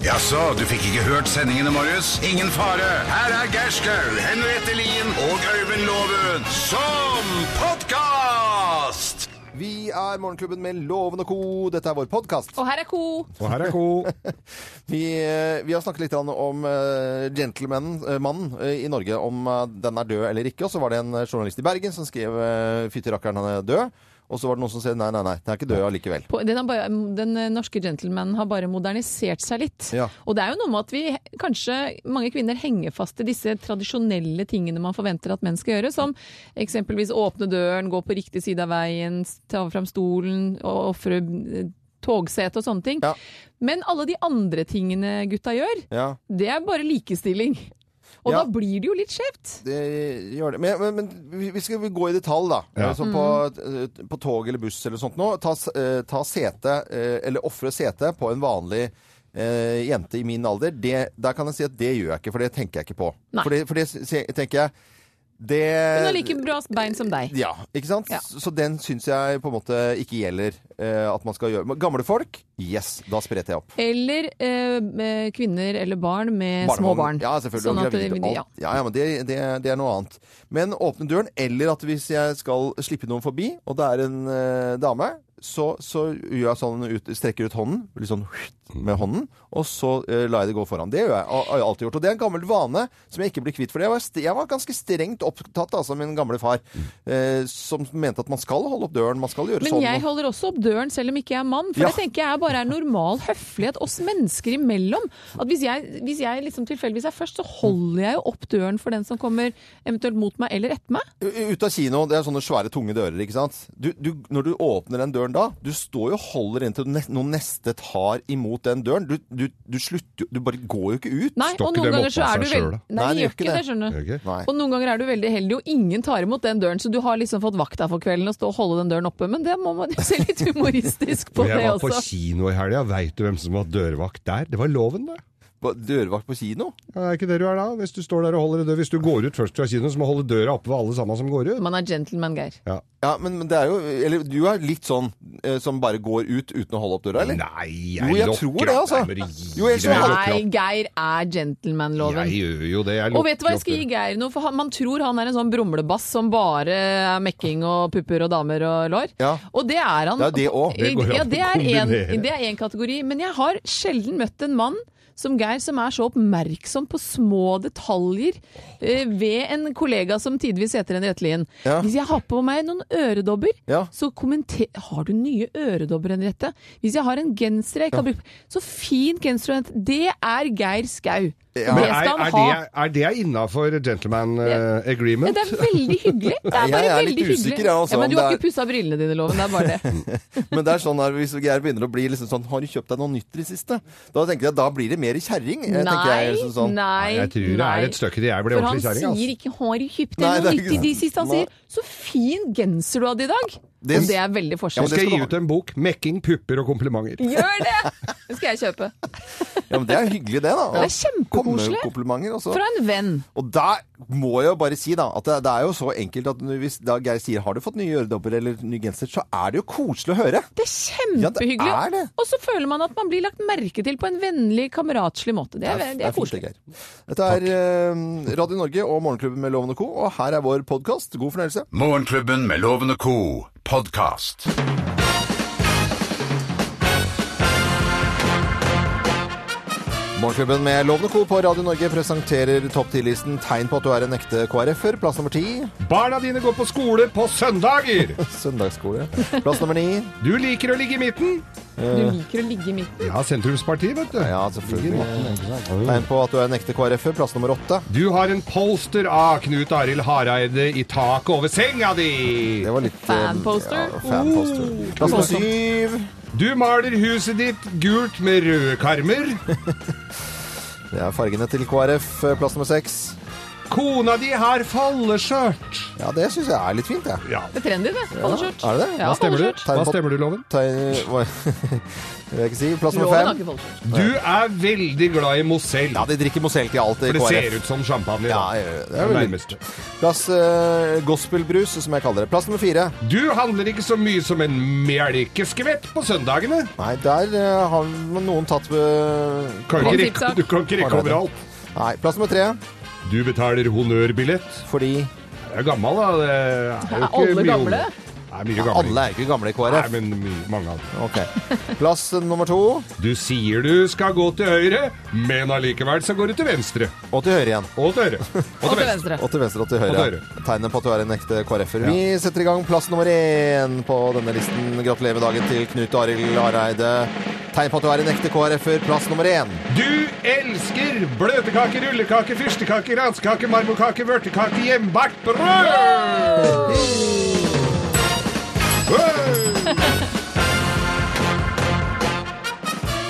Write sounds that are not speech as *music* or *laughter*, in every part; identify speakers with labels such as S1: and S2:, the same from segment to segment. S1: Jaså, du fikk ikke hørt sendingene, Marius? Ingen fare. Her er Gerskaug, Henriette Lien og Øyvind Loven som podkast!
S2: Vi er Morgenklubben med Loven og Co. Dette er vår podkast.
S3: Og her er ko.
S4: Og her *laughs* er ko.
S2: Vi, eh, vi har snakket litt grann om eh, gentlemanen eh, mannen, eh, i Norge, om eh, den er død eller ikke. Og så var det en eh, journalist i Bergen som skrev eh, 'fytti rakkeren, han er død'. Og så var det noen som sa nei, nei, nei, den er ikke død allikevel.
S3: På- Den, har bare, den eh, norske gentlemanen har bare modernisert seg litt.
S2: Ja.
S3: Og det er jo noe med at vi, kanskje mange kvinner henger fast i disse tradisjonelle tingene man forventer at menn skal gjøre, som eksempelvis åpne døren, gå på riktig side av veien, ta fram stolen, og ofre eh, togsete og sånne ting.
S2: Ja.
S3: Men alle de andre tingene gutta gjør,
S2: Ja,
S3: det er bare likestilling. Og
S2: Ja.
S3: da blir det jo litt skjevt.
S2: det gjør det. Men, men, men vi- vi skal gå i detalj, da.
S4: Ja.
S2: Så på,
S3: Mm.
S2: eh, på tog eller buss eller sånt nå. Ta, s- eh, ta sete, eh, eller ofre sete på en vanlig eh, jente i min alder. Det, der kan jeg si at det gjør jeg ikke, for det tenker jeg ikke på.
S3: Nei.
S2: For det, for det se- tenker jeg det,
S3: Hun har like bra bein som deg.
S2: Ja, ikke sant?
S3: Ja.
S2: Så den syns jeg på en måte ikke gjelder eh, at man skal gjøre. Men Gamle folk, yes, da spretter jeg opp.
S3: Eller eh, med kvinner eller barn med eh, små
S2: Barnevogn.
S3: barn.
S2: Ja, selvfølgelig.
S3: Sånn
S2: og
S3: at det-
S2: gravide og alt.
S3: ja.
S2: Ja, ja, men det, det, det er noe annet. Men åpne døren, eller at hvis jeg skal slippe noen forbi, og det er en eh, dame, så, så gjør jeg sånn ut, strekker ut hånden, litt sånn *laughs* med hånden, og så eh, lar jeg det gå foran. Det gjør jeg, og- har jeg alltid gjort. Og det er en gammel vane som jeg ikke blir kvitt for. Jeg var, st- jeg var ganske strengt opptatt altså, av min gamle far, eh, som mente at man skal holde opp døren, man skal gjøre
S3: Men
S2: sånn.
S3: jeg holder også opp døren selv om ikke jeg er mann, for
S2: Ja.
S3: det tenker jeg bare er normal høflighet oss mennesker imellom. At hvis jeg, hvis jeg liksom tilfeldigvis er først, så holder jeg jo opp døren for den som kommer eventuelt mot meg eller etter meg.
S2: Ute av kino, det er sånne svære, tunge dører, ikke sant? Du, du, når du åpner den døren da, du står jo og holder inntil ne- noen neste tar imot den døren. Du, du, du slutter jo, du bare går jo ikke ut.
S3: Nei,
S4: Står
S3: og
S4: ikke
S3: noen
S4: dem
S3: ganger
S4: opp
S3: så
S4: av
S3: er du
S4: seg
S3: veldig
S4: selv, da?
S3: Nei, de gjør ikke det, skjønner du.
S4: Gjør ikke?
S2: Nei.
S3: Og noen ganger er du veldig heldig, og ingen tar imot den døren, så du har liksom fått vakta for kvelden og stå og holde den døren oppe. Men det må man *laughs* jo se litt humoristisk på,
S4: Når jeg
S3: det
S4: var på
S3: også.
S4: kino i helga, veit du hvem som var dørvakt der? Det var loven, det.
S2: Hva, Dørvakt på kino?
S4: Ja, det er ikke det du er da? Hvis du står der og holder i dør. Hvis du går ut først fra kino, så må du holde døra oppe ved alle sammen som går ut.
S3: Man er gentleman, Geir.
S4: Ja.
S2: Ja, men, men det er jo, eller du er litt sånn eh, som bare går ut uten å holde opp døra, eller?
S4: Nei,
S2: Jo, jeg
S4: lokker
S2: tror
S4: opp.
S2: det, altså.
S4: Nei, men gi
S2: Jo, jeg
S4: deg,
S2: tror-
S4: lokker
S3: Nei,
S4: opp.
S3: Geir er gentleman-loven.
S4: Jeg gjør jo det. Jeg
S3: Og vet du hva jeg skal
S4: lokker
S3: gi
S4: opp
S3: Geir noe? For han, man tror han er en sånn brumlebass som bare er mekking og pupper og damer og lår.
S2: Ja.
S3: Og det er han.
S2: Det er det også.
S4: Det går an
S3: ja,
S4: å
S3: det er en-
S4: kombinere.
S3: det er én kategori. Men jeg har sjelden møtt en mann som Geir, som er så oppmerksom på små detaljer eh, ved en kollega som tidvis heter Henriette Lien.
S2: Ja.
S3: Hvis jeg har på meg noen øredobber,
S2: Ja.
S3: så kommenter... Har du nye øredobber, Henriette? Hvis jeg har en genser jeg ikke har brukt Så fin genser, Henriette. det er Geir Skau.
S2: Ja.
S3: Det
S4: Men er,
S3: skal han
S4: er
S3: ha.
S4: det, er det innafor gentleman eh,
S3: Men
S4: agreement?
S3: det er veldig hyggelig. Det er
S2: Jeg
S3: bare
S2: er litt
S3: veldig
S2: usikker,
S3: hyggelig.
S2: jeg, altså,
S3: ja, men
S2: om
S3: du har
S2: det er-
S3: ikke pussa brillene dine, Loven. Det er bare
S2: *laughs*
S3: det.
S2: Men det er sånn her, hvis Geir begynner å bli liksom sånn, har du kjøpt deg noe nytt i det siste? Da tenker jeg, da blir det mer kjerring. eh, tenker jeg, liksom sånn.
S3: nei,
S4: Jeg tror det er et stykke til jeg ble
S3: For han
S4: ordentlig kjerring. altså.
S3: sier ikke 'har du kjøpt deg
S2: Nei,
S3: noe
S2: det er
S3: nytt' i
S2: ikke
S3: de
S2: sant.
S3: siste. Han
S2: Nei.
S3: sier 'så fin genser du hadde i dag'.
S2: Det-
S3: Og det er veldig
S4: Nå
S3: forskjell.
S4: skal jeg
S2: skal
S4: gi ut en bok. 'Mekking, pupper og komplimenter'.
S3: *laughs* Gjør det! Det skal jeg
S2: *laughs*
S3: kjøpe.
S2: Ja, men det er hyggelig det da.
S3: Det er kjempekoselig.
S2: Komme komplimenter altså. også.
S3: Fra en venn.
S2: Og der må jeg jo bare si da, at det, det er jo så enkelt at hvis da Geir sier har du fått nye øredobber eller ny genser, så er det jo koselig å høre.
S3: Det er kjempehyggelig.
S2: Ja, det er det.
S3: Og så føler man at man blir lagt merke til på en vennlig, kameratslig måte. Det er, det er
S2: fint,
S3: koselig.
S2: det, Geir. Dette er eh, Radio Norge og Morgenklubben med Loven og Co., og her er vår podkast. God fornøyelse.
S1: Morgenklubben med Loven og Co. podkast.
S2: Morgenklubben med Loven og Co. på Radio Norge presenterer topp 10-listen tegn på at du er en ekte KrF-er. Plass nummer ti.
S4: Barna dine går på skole på søndager!
S2: Søndagsskole. Plass nummer ni.
S4: Du liker å ligge i midten.
S3: Du liker å ligge i midten.
S4: Ja, sentrumsparti, vet du.
S2: Ja, selvfølgelig. Tegn på at du er en ekte KrF-er. Plass nummer åtte.
S4: Du har en polster av Knut Arild Hareide i taket over senga di.
S2: Det var litt eh,
S3: Fanposter. Uh.
S2: Ja, fanposter. Plass nummer syv.
S4: Du maler huset ditt gult med røde karmer.
S2: Det er fargene til KrF. Plass nummer eh, seks.
S4: Kona di har falleskjørt!
S2: Ja, det syns jeg er litt fint, jeg.
S4: Ja.
S3: Det er trendy, det. Falleskjørt.
S2: Er det det?
S3: Ja,
S2: Hva
S4: Stemmer du?
S3: falleskjørt.
S4: Hva stemmer du, Loven?
S2: Ta, hva, *laughs* det vil jeg ikke si. Plass nummer
S3: Loven har
S2: fem.
S3: ikke fallskjerm.
S4: Du er veldig glad i Mozell.
S2: Ja, de drikker Mozell til alt i
S4: For det ser
S2: KrF.
S4: ut som champagne.
S2: Ja,
S4: da.
S2: jeg gjør det. Det
S4: Det
S2: er
S4: er
S2: veldig-
S4: nærmest.
S2: Plass eh, gospelbrus, som jeg kaller det. Plass nummer fire.
S4: Du handler ikke så mye som en melkeskvett på søndagene.
S2: Nei, der eh, har noen tatt ved
S4: Kan ikke
S3: Konfitsak.
S4: rekke, du kan ikke rekke overalt.
S2: Nei, plass nummer tre.
S4: Du betaler honnørbillett.
S2: Fordi
S4: Jeg er gammel, da. Det er jo
S3: Er
S4: ikke
S3: alle
S4: mye
S3: gamle?
S4: unge. Nei, mye gamle.
S2: alle er ikke gamle i
S4: Nei,
S2: KrF.
S4: men mye, mange av dem.
S2: Ok. Plass nummer to,
S4: Du sier du skal gå til høyre, men allikevel så går du til venstre.
S2: og til høyre igjen.
S4: Og til
S3: *laughs*
S4: høyre.
S3: Og til venstre.
S2: Og til venstre og til høyre.
S4: Og til
S2: Tegnet på at du er en ekte KrF-er. Vi setter i gang plass nummer én på denne listen. Gratulerer med dagen til Knut Arild Hareide. Tegn på at du er en ekte KrF-er. Plass nummer én.
S4: Du elsker bløtkake, rullekake, fyrstekake, ranskake, marmorkake, vørtekake, hjemmebakt brød! Hey!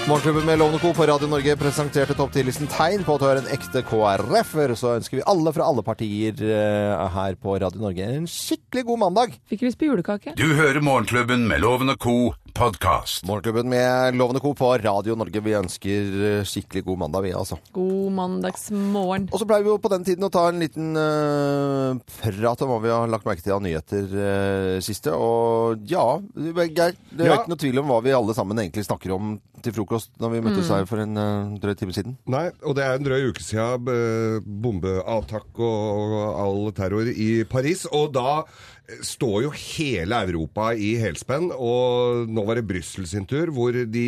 S2: Morgenklubben med Lovende Co. på Radio Norge presenterte topp 10-listen tegn på at du er en ekte KrF-er. Så ønsker vi alle fra alle partier eh, her på Radio Norge en skikkelig god mandag.
S3: Fikk lyst på julekake.
S1: Du hører Morgenklubben med Loven og Co. podkast.
S2: Morgenklubben med Lovende Co. på Radio Norge. Vi ønsker eh, skikkelig god mandag, vi altså.
S3: God mandagsmorgen.
S2: Og så pleier vi jo på den tiden å ta en liten eh, prat om hva vi har lagt merke til av nyheter eh, siste. Og ja, Geir, det er
S4: Ja.
S2: ikke noe tvil om hva vi alle sammen egentlig snakker om til frokost når vi
S4: Mm.
S2: møttes her for en eh, drøy time siden.
S4: Nei, og det er en drøy uke siden eh, bombeavtakk og og all terror i Paris, og da eh, står jo hele Europa i helspenn, og nå var det Bryssel sin tur, hvor de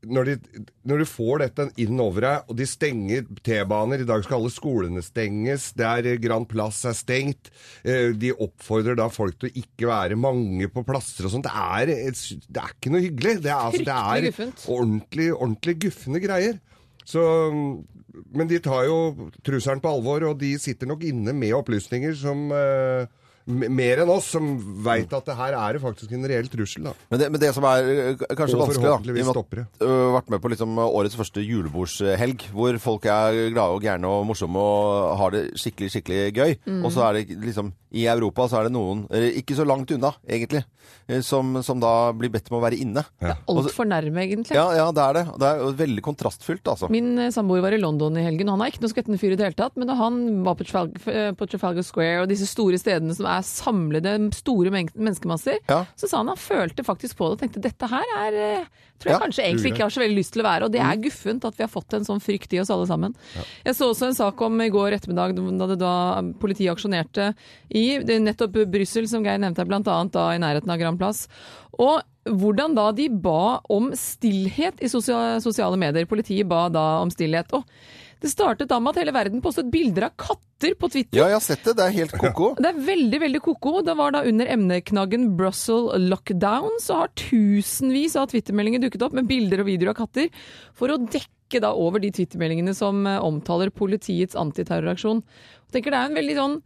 S4: når, de når du får dette inn over deg, og de stenger T-baner, i dag skal alle skolene stenges, der Grand Place er stengt, eh, de oppfordrer da folk til å ikke være mange på plasser og sånt, det er, et- det er ikke noe hyggelig. Det er, altså, det
S3: Fryktelig
S4: er
S3: guffent.
S4: ordentlig, ordentlig guffende greier. Så, men de tar jo trusselen på alvor, og de sitter nok inne med opplysninger som eh, m- mer enn oss, som veit at det her er det faktisk en reell trussel. da.
S2: Men det, men det som er ø, k- kanskje
S4: Og
S2: vanskelig, da
S4: forhåpentligvis stopper det.
S2: har vært med på liksom årets første julebordshelg, hvor folk er glade og gærne og morsomme og har det skikkelig, skikkelig gøy.
S4: Mm.
S2: Og så er det liksom I Europa så er det noen, eh, ikke så langt unna egentlig, eh, som, som da blir bedt om å være inne. Ja,
S3: Altfor nærme, egentlig.
S2: ja, det er det. Det er jo veldig kontrastfylt, altså.
S3: Min eh, samboer var i London i helgen, og han er ikke noe skvetten fyr i det hele tatt, men da han var på Trafalgar, eh, på Trafalgar Square og disse store stedene som er samlede, store men menneskemasser,
S2: Ja.
S3: så sa han han følte faktisk på det og tenkte dette her er eh, tror jeg
S2: Ja,
S3: kanskje egentlig ikke har så veldig lyst til å være, og det er guffent at vi har fått en sånn frykt i oss alle sammen. Jeg så også en sak om i går ettermiddag da det da um, politiet aksjonerte i det er nettopp Brussel, som Geir nevnte, blant annet da i nærheten av Grand Plass. Og hvordan da de ba om stillhet i sosia- sosiale medier. Politiet ba da om stillhet. Og det startet da med at hele verden postet bilder av katter på Twitter.
S2: Ja, jeg har sett det. Det er helt ko-ko.
S3: Det er veldig, veldig koko. Det var da under emneknaggen Brussel lockdown, så har tusenvis av twittermeldinger dukket opp med bilder og videoer av katter, for å dekke da over de twittermeldingene som eh, omtaler politiets antiterroraksjon. Jeg tenker det er en veldig sånn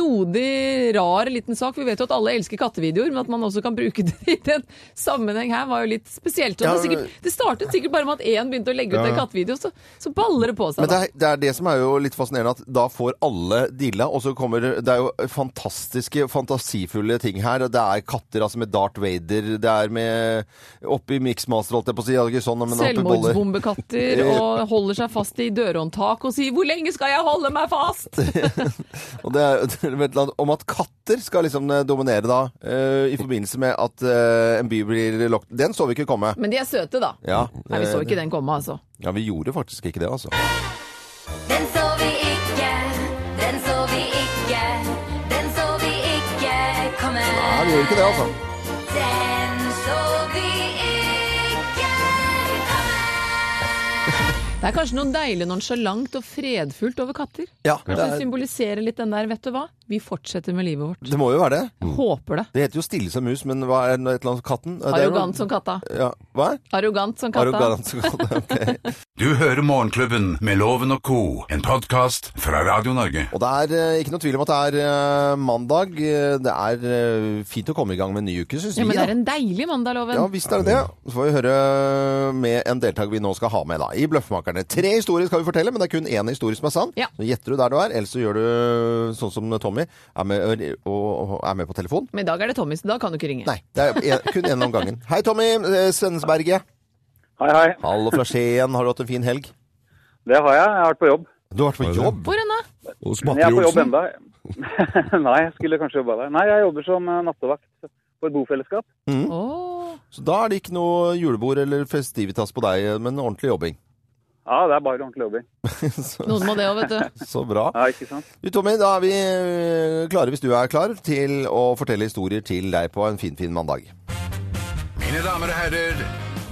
S3: snodig, rar liten sak. Vi vet jo at alle elsker kattevideoer, men at man også kan bruke *laughs* det i den sammenheng her, var jo litt spesielt. Og det, er
S2: Ja,
S3: sikkert, det startet sikkert bare med at én begynte å legge ut en kattevideo, så, så baller det på seg.
S2: Men det
S3: Da.
S2: er, det er det som er jo litt fascinerende, at da får alle deala, og så kommer Det er jo fantastiske, fantasifulle ting her. Det er katter altså med Darth Vader, det er med Oppi Mixmaster, holdt jeg på å si. Jeg hadde ikke sånn, men oppi boller.
S3: Selvmordsbombekatter og holder seg fast i dørhåndtak og sier 'hvor lenge skal jeg holde meg fast'?
S2: Og det er *laughs* det er et eller annet om at katter skal liksom eh, dominere da, eh, i forbindelse med at eh, en by blir lagt Den så vi ikke komme.
S3: Men de er søte, da.
S2: Ja,
S3: Nei, vi så
S2: eh,
S3: ikke den komme, altså.
S2: ja, vi gjorde faktisk ikke det, altså.
S5: Den så vi ikke, den så vi ikke, den så vi ikke komme.
S2: Nei, vi gjorde ikke det, altså.
S5: Den så vi ikke komme.
S3: Det er kanskje noe deilig nonsjalant og fredfullt over katter.
S2: Ja,
S3: Kanskje det symboliserer litt den der 'vet du hva, Vi fortsetter med livet vårt.
S2: Det må jo være det.
S3: Jeg Håper det.
S2: Det heter jo stille som mus, men hva er det, et eller annet katten? Eh, det er jo-
S3: Arrogant som katta.
S2: Ja, hva?
S3: Arrogant som katta.
S2: Arrogant *laughs* som katta. ok.
S1: Du hører Morgenklubben med Loven og co., en podkast fra Radio Norge.
S2: Og det er eh, ikke noe tvil om at det er eh, mandag. Eh, Det er eh, fint å komme i gang med en ny uke, syns
S3: Ja,
S2: vi.
S3: men det
S2: da.
S3: er en deilig mandag, Loven.
S2: Ja, visst er det det. Så får vi høre eh, med en deltaker vi nå skal ha med da, i Bløffmakerne. Tre historier skal vi fortelle, men det er kun én historie som er sann.
S3: Ja.
S2: Så gjetter du der du er, eller så gjør du sånn som Tommy, er med, og, og er med på telefon.
S3: Men i dag er det Tommy, så da kan du ikke ringe.
S2: Nei, det er en, kun én om gangen. Hei, Tommy eh, Svensberget.
S6: Hei, hei.
S2: Hallo fra Skien. Har du hatt en fin helg?
S6: Det har jeg. Jeg har vært på jobb.
S2: Du har vært på jobb?
S3: Hvor hen da?
S4: Hos
S6: Men jeg er på
S4: Matre
S6: jobb
S4: Olsen.
S6: enda. *laughs* Nei, jeg skulle kanskje jobba der. Nei, jeg jobber som eh, nattevakt på et bofellesskap.
S2: Mm.
S3: Åh.
S2: Så da er det ikke noe julebord eller festivitas på deg, men ordentlig jobbing.
S6: Ja, det er bare ordentlig jobbing.
S2: så,
S3: Noen må det òg,
S2: *laughs*
S3: vet du.
S2: så bra.
S6: Ja, ikke sant?
S2: Du Tommy, da er vi eh, klare, hvis du er klar, til å fortelle historier til deg på en finfin fin mandag.
S1: Mine damer og herrer,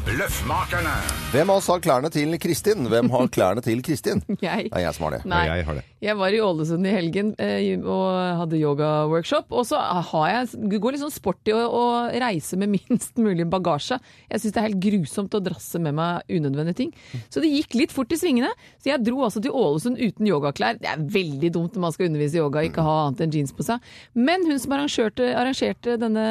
S1: Løffmakerne.
S2: Hvem av oss har klærne til Kristin? Hvem har klærne til Kristin? Det
S3: Jeg.
S2: er jeg som har det.
S3: Nei.
S4: Jeg har det.
S3: Jeg var i Ålesund i helgen eh, og hadde yoga-workshop. Og så har jeg, det går litt sånn sport i å, å reise med *laughs* minst mulig bagasje. Jeg syns det er helt grusomt å drasse med meg unødvendige ting. Så det gikk litt fort i svingene. Så jeg dro altså til Ålesund uten yogaklær. Det er veldig dumt når man skal undervise i yoga og ikke ha annet enn jeans på seg. Men hun som arrangerte, arrangerte denne,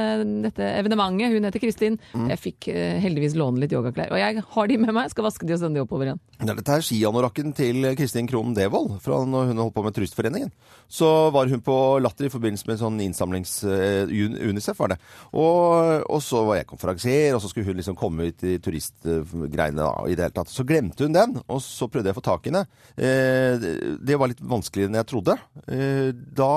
S3: dette evenementet, hun heter Kristin, jeg fikk eh, heldigvis låne litt yogaklær. Og jeg har de med meg, skal vaske de og sende de oppover igjen.
S2: Ja, Dette er skianorakken til Kristin Krohn Devold fra når hun holdt på med Turistforeningen. Så var hun på Latter i forbindelse med en sånn innsamlings... eh, Un- Unicef var det. Og, og så var jeg konferansier, og så skulle hun liksom komme ut i turistgreiene da, i det hele tatt. Så glemte hun den, og så prøvde jeg å få tak i henne. Eh, Det var litt vanskeligere enn jeg trodde. Eh, Da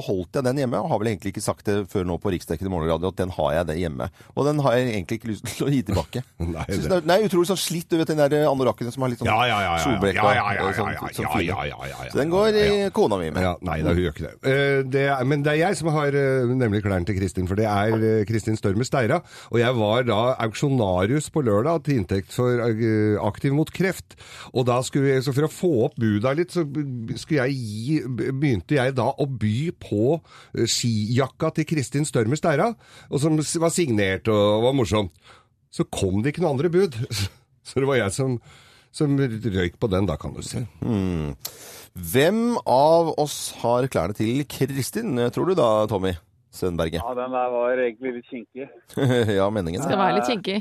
S2: beholdt jeg den hjemme, og har vel egentlig ikke sagt det før nå på Riksdekken i morgenradio at den har jeg det hjemme. Og den har jeg egentlig ikke lyst til å gi tilbake.
S4: *laughs* Nei,
S2: Synes
S4: det-
S2: det er- Nei, utrolig sånn slitt, du vet den der anorakken som har litt sånn
S4: Ja, ja, ja, ja.
S2: solblekk
S4: Ja, ja, ja,
S2: og sånn-
S4: ja, ja,
S2: sånn
S4: ja,
S2: fine.
S4: ja, ja, ja, ja.
S2: Så den går i
S4: Ja.
S2: kona mi med.
S4: Ja, nei da, hun gjør ikke det. Eh, det er, men det er jeg som har eh, nemlig klærne til Kristin, for det er eh, Kristin Størmer Steira. Og jeg var da auksjonarius på lørdag til inntekt for eh, Aktiv mot kreft. Og da skulle jeg, så for å få opp buda litt, så b- skulle jeg gi, b- begynte jeg da å by på eh, skijakka til Kristin Størmer Steira, og som s- var signert og var morsom. Så kom det ikke noen andre bud. *laughs* Så det var jeg som, som røyk på den, da kan du se.
S2: Mm. Hvem av oss har klærne til Kristin, tror du da, Tommy Sønberget? *laughs*
S6: Ja, den der var egentlig litt kinkig.
S2: ja, meningen.
S3: Skal være litt kinkig.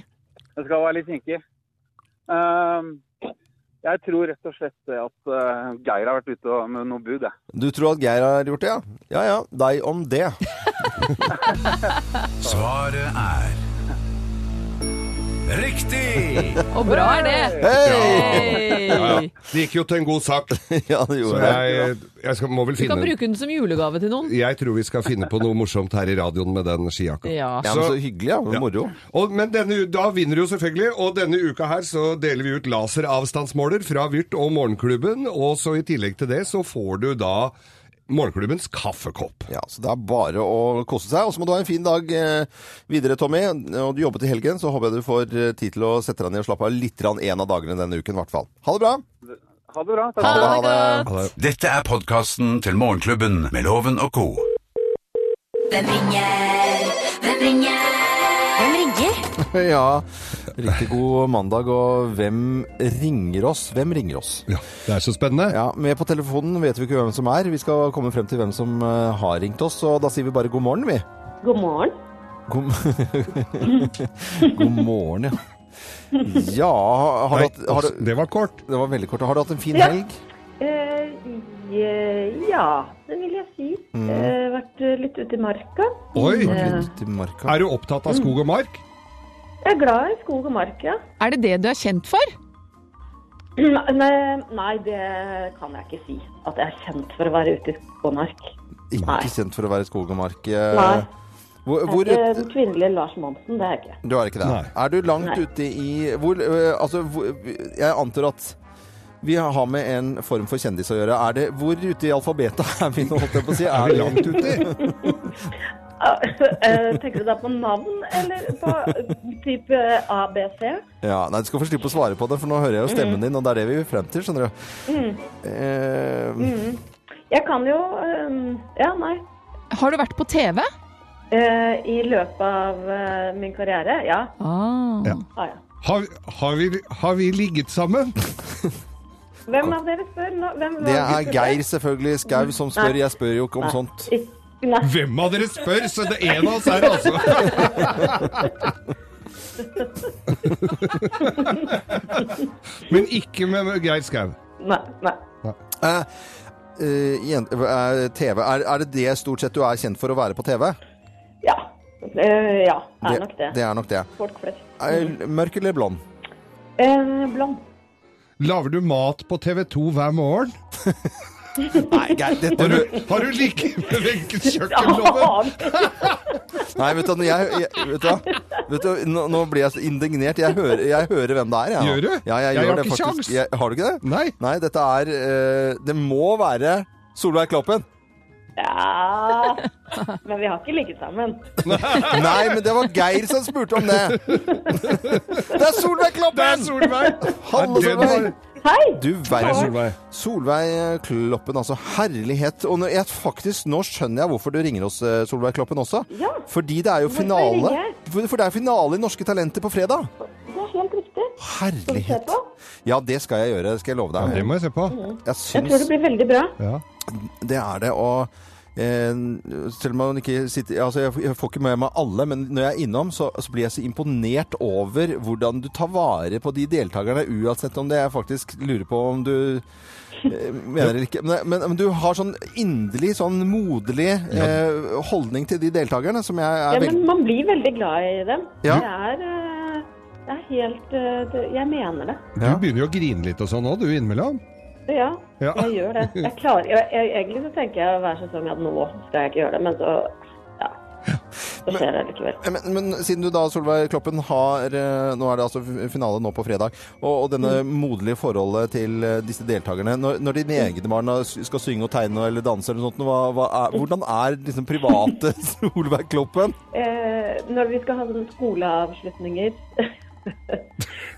S6: Den skal være litt kinkig. Ehm, jeg tror rett og slett det at eh, Geir har vært ute og- med noe bud, jeg.
S2: Du tror at Geir har gjort det, ja? Ja ja, deg om det. *laughs*
S1: Svaret er Riktig!
S3: Og bra er det!
S2: Hei!
S4: Ja, ja.
S3: Hey!
S4: Det gikk jo til en god sak.
S2: Ja, det
S4: Så
S2: gjorde jeg.
S4: jeg, jeg skal, må vel
S3: Du kan
S4: finne
S3: bruke den som julegave til noen.
S4: Jeg tror vi skal finne på noe morsomt her i radioen med den skijakka.
S3: Ja.
S2: Ja, men så hyggelig, ja.
S4: Ja.
S2: Moro.
S4: Og, men denne, u- da vinner du jo selvfølgelig, og denne uka her så deler vi ut laseravstandsmåler fra Vyrt og Morgenklubben, og så i tillegg til det så får du da Morgenklubbens kaffekopp.
S2: Ja, så det er bare å kose seg. Og så må du ha en fin dag eh, videre, Tommy. Og du jobber til helgen, så håper jeg du får eh, tid til å sette deg ned og slappe av litt grann en av dagene denne uken, i hvert fall. Ha det bra!
S6: Ha det bra. Takk
S3: Ha
S6: skal du
S3: det
S6: ha.
S3: godt!
S1: Dette er podkasten til Morgenklubben med Loven og co.
S5: Hvem ringer? Hvem ringer? Hvem ringer?
S2: Ja, riktig god mandag, og hvem ringer oss? Hvem ringer oss?
S4: Ja, det er så spennende.
S2: Ja, Med på telefonen vet vi ikke hvem som er. Vi skal komme frem til hvem som eh, har ringt oss, og da sier vi bare god morgen, vi.
S7: God morgen.
S2: God, *laughs* god morgen, ja. Ja, har, har du hatt har du,
S4: altså, det var kort.
S2: Det var veldig kort. Har du hatt en fin
S7: Ja.
S2: helg?
S7: Eh, je- ja, det vil jeg si.
S2: Mm.
S7: Eh, vært eh, litt ute i marka.
S4: Oi!
S3: Mm.
S2: Vært
S7: Eh.
S2: litt ute i marka.
S4: Er du opptatt av skog og mark?
S7: Jeg er glad i skog og mark, ja. *clears throat*
S3: Er det det du er kjent for?
S7: Nei, nei, det kan jeg ikke si. At jeg er kjent for å være ute i skog og mark. Nei.
S2: Ikke kjent for å være i skog og mark. eh,
S7: Nei. Eh,
S2: Hvor,
S7: Jeg
S2: hvor,
S7: er ikke den kvinnelige Lars Monsen, det er jeg ikke.
S2: Du er ikke det?
S4: Nei.
S2: Er du langt
S7: Nei.
S2: ute i hvor, øh, Altså, hvor, jeg antar at vi har med en form for kjendis å gjøre. Er det, hvor ute i alfabetet er vi nå, holdt jeg på å si?
S4: Er vi langt ute?
S2: Mm.
S7: Ah, *laughs* eh, Tenker du da på navn, eller på eh, type ABC?
S2: Ja, nei, du skal få slippe å svare på det, for nå hører jeg jo
S7: Mm.
S2: stemmen din, og det er det vi vil frem til, skjønner du. Eh,
S7: Mm. Jeg kan jo eh, Ja, nei.
S3: Har du vært på TV?
S7: Eh, I løpet av eh, min karriere, ja.
S3: Ah.
S4: Ja.
S7: Ah, ja.
S4: Har, har, vi, har vi ligget sammen?
S7: Hvem av dere spør nå? Hvem,
S2: Det er Geir selvfølgelig Skau som spør. Jeg spør jo ikke om sånt.
S7: Ikke- Nei,
S4: Hvem av dere spør? Så det er en av oss her, altså. Men ikke med Geir Skau.
S7: nei, nei.
S2: Eh, eh, jen- eh, TV, er, er det det stort sett du er kjent for å være på TV?
S7: Ja. Eh, ja, er nok det. Mm.
S2: Det er nok det.
S7: Folk flest.
S2: Er, mørk eller blond?
S7: Eh, blond.
S4: Lager du mat på TV 2 hver morgen?
S2: Nei, Geir, dette
S4: Har du, har du ligget med Wenche Kjøkkenloven?
S7: Ja,
S2: Nei, vet du, hva, når jeg, jeg, vet du, hva? vet du, hva, nå, nå blir jeg så indignert. Jeg hører, jeg hører hvem det er. Jeg. nå.
S4: Gjør du?
S2: Ja, jeg,
S4: Jeg
S2: gjør
S4: har
S2: det
S4: ikke
S2: faktisk.
S4: sjans.
S2: Jeg, har du ikke det?
S4: Nei.
S2: Nei, dette er eh, Det må være Solveig Kloppen.
S7: *laughs* ja. Men vi har ikke ligget sammen.
S2: Nei, men det var Geir som spurte om det. Det er Solveig Kloppen!
S4: Det er Solveig!
S2: *laughs* Hallo,
S4: Det er den
S2: Solveig.
S7: Hei!
S2: Du
S4: Det er
S2: verden.
S4: Solveig.
S2: Solveig Kloppen, altså. Herlighet. Og nå, jeg, faktisk, nå skjønner jeg hvorfor du ringer oss, eh, Solveig Kloppen, også.
S7: Ja.
S2: Fordi det er jo
S7: Hvorfor
S2: finale.
S7: ringer jeg?
S2: For, for det er finale i Norske Talenter på fredag.
S7: Det er helt riktig. Skal du se
S2: Herlighet.
S7: på?
S2: Ja, det skal jeg gjøre. Det skal jeg love
S4: Ja,
S2: deg.
S4: det må jeg se på.
S2: Jeg
S7: Jeg tror
S2: syns
S7: det blir veldig bra.
S4: Ja.
S2: det er det. Og eh, selv om man ikke sitter Altså, jeg, jeg får ikke med meg alle, men når jeg er innom, så, så blir jeg så imponert over hvordan du tar vare på de deltakerne, uansett om det jeg faktisk lurer på om du eh, mener eller ikke. Men, men, men du har sånn inderlig, sånn moderlig eh, holdning til de deltakerne, som jeg
S7: Ja,
S2: er veldig
S7: men man blir veldig glad i dem.
S2: Ja.
S7: Det er, eh, det er helt eh, det, Jeg mener det.
S4: Du begynner jo å grine litt og sånn òg, du innimellom.
S7: Ja,
S4: Ja.
S7: jeg gjør det. Jeg klarer, jeg, jeg, egentlig så tenker jeg hver sesong at nå skal jeg ikke gjøre det, men så ja, så skjer det likevel.
S2: Eh, Men, men siden du da, Solveig Kloppen, har eh, Nå er det altså f- finale nå på fredag. Og, og denne moderlige forholdet til eh, disse deltakerne. Når, når dine egne barn har- skal synge og tegne eller danse eller noe sånt, hva, hva er, hvordan er liksom private *laughs* Solveig Kloppen?
S7: Eh, når vi skal ha sånne skoleavslutninger, *laughs*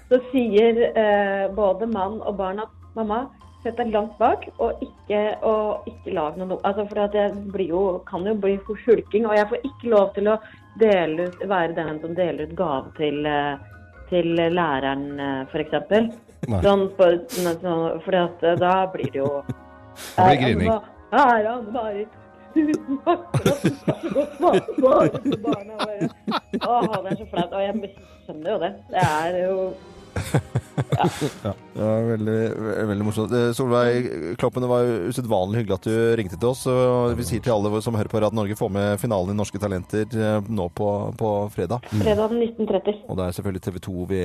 S7: så sier eh, både mann og barn at mamma, sett deg langt bak og ikke, og ikke lag noe no- Altså, for at jeg blir jo, kan jo bli hulking, og jeg får ikke lov til å dele ut, være den som deler ut gave til, eh, til læreren, f.eks.
S4: Nei.
S7: Sånn, på- sånn, sånn, fordi at eh, da blir det jo
S4: Da blir det grining.
S7: altså, Her er han bare *laughs* tusen takk for at du skal så godt svare på alle disse barna våre. Åh, det er så flaut. Og jeg skjønner jo det. Det er jo
S2: Ja, veldig, ve- veldig morsomt. Eh, Solveig Kloppen, det var jo usedvanlig hyggelig at du ringte til oss. Og vi sier til alle som hører på Radio Norge, få med finalen i Norske Talenter eh, nå på, på fredag.
S7: fredag den 1930.
S2: Og det er selvfølgelig TV 2 vi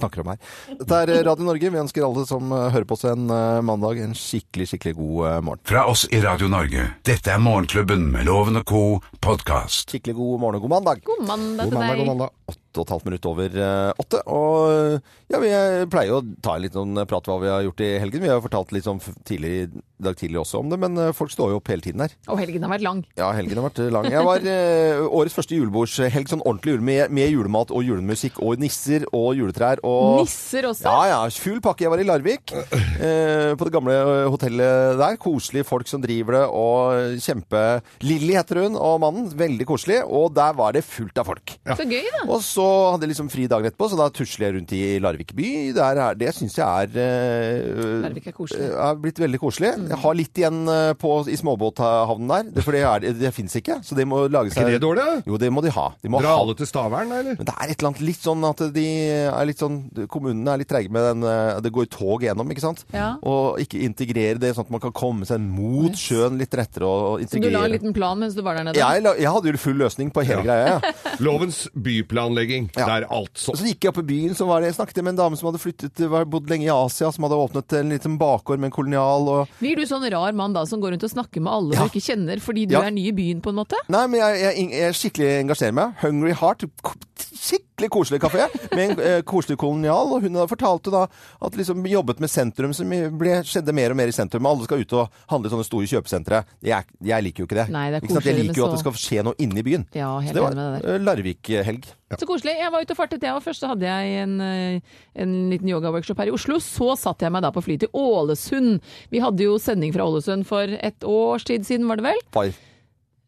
S2: snakker om her. Dette er Radio Norge. Vi ønsker alle som eh, hører på oss en eh, mandag, en skikkelig, skikkelig god eh, morgen.
S1: Fra oss i Radio Norge. Dette er Morgenklubben med Loven og co. podkast.
S2: Skikkelig god morgen og god mandag.
S3: God mandag
S4: God
S3: til
S4: mandag,
S3: deg.
S4: god mandag.
S2: Åtte og et halvt minutt over eh, åtte. Og eh, ja, vi eh, pleier jo å ta en liten eh, prat hva vi har gjort i helgen. Vi har jo fortalt litt sånn f- tidlig i dag tidlig også om det, men eh, folk står jo opp hele tiden her.
S3: Og helgen har vært lang.
S2: Ja, helgen har vært lang. Jeg var eh, årets første julebordshelg, sånn ordentlig jule med, med julemat og julemusikk og nisser og juletrær og
S3: Nisser også.
S2: Ja, ja. Full pakke. Jeg var i Larvik, eh, på det gamle eh, hotellet der. Koselige folk som driver det, og kjempe Lilly heter hun, og mannen. Veldig koselig. Og der var det fullt av folk.
S3: Så gøy, da.
S2: Og så hadde jeg liksom fri dagen etterpå, så da tusler jeg rundt i Larvik by. Der er, det syns jeg er eh,
S3: Larvik er koselig.
S2: eh, Er blitt veldig koselig. Jeg har litt igjen eh, på, i småbåthavnen der, det- for det, er- det fins ikke. Så det må lage
S4: Er
S2: seg
S4: det dårlig? da?
S2: Jo, det må de ha. De må
S4: Dra
S2: ha
S4: alle til Stavern, da, eller?
S2: men det er et eller annet litt sånn at de er litt sånn Kommunene er litt treige med den eh, Det går tog gjennom, ikke sant?
S3: Ja.
S2: Og ikke integrere det, sånn at man kan komme seg mot sjøen litt rettere og og
S3: Så du
S2: integrere.
S3: la en liten plan mens du var der nede?
S2: jeg, la- jeg hadde jo full løsning på hele greia. Ja.
S4: Lovens byplanlegging.
S2: Ja.
S4: Der, altså.
S2: Så gikk jeg opp i byen, så var det, jeg snakket med en dame som hadde flyttet, var, bodd lenge i Asia, som hadde åpnet en liten bakgård med en kolonial. Og...
S3: Blir du sånn rar mann da som går rundt og snakker med alle
S2: Ja.
S3: du ikke kjenner fordi du
S2: Ja.
S3: er ny i byen, på en måte?
S2: Nei, men jeg, jeg, jeg skikkelig engasjerer meg. Hungry Heart, k- skikkelig koselig kafé med en eh, koselig kolonial. Og hun da fortalte da at liksom jobbet med sentrum, som ble, skjedde mer og mer i sentrum. Alle skal ut og handle i sånne store kjøpesentre. Jeg, jeg liker jo ikke det.
S3: Nei, det er
S2: ikke sant? Jeg
S3: koseligere
S2: liker jo
S3: med
S2: at det
S3: så-
S2: skal skje noe inne i byen.
S3: Ja,
S2: Så
S3: helt
S2: det
S3: enig
S2: var
S3: med deg der.
S2: eh, Larvik-helg.
S3: Så koselig. Jeg var ute og fartet, jeg òg. Først så hadde jeg en, eh, en liten yogaworkshop her i Oslo. Så satte jeg meg da på fly til Ålesund. Vi hadde jo sending fra Ålesund for et års tid siden, var det vel?
S2: Far.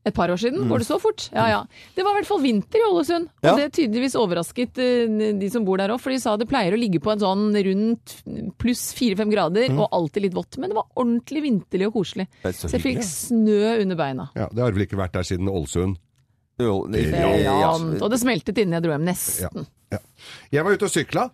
S3: Et par år siden? Går det så fort? Ja ja. Det var i hvert fall vinter i Ålesund, og
S2: Mm. Ja.
S3: det tydeligvis overrasket eh, de som bor der òg, for de sa det pleier å ligge på en sånn rundt pluss fire-fem grader og alltid litt vått, men det var ordentlig vinterlig og koselig.
S2: Mm. Det er så
S3: Så jeg fikk
S2: hyggelig,
S3: snø under beina.
S4: Ja, Det har vel ikke vært der siden Ålesund.
S2: Jo, det- ja,
S3: Brant, og det smeltet innen jeg dro hjem. Nesten.
S4: Jeg var ute og sykla.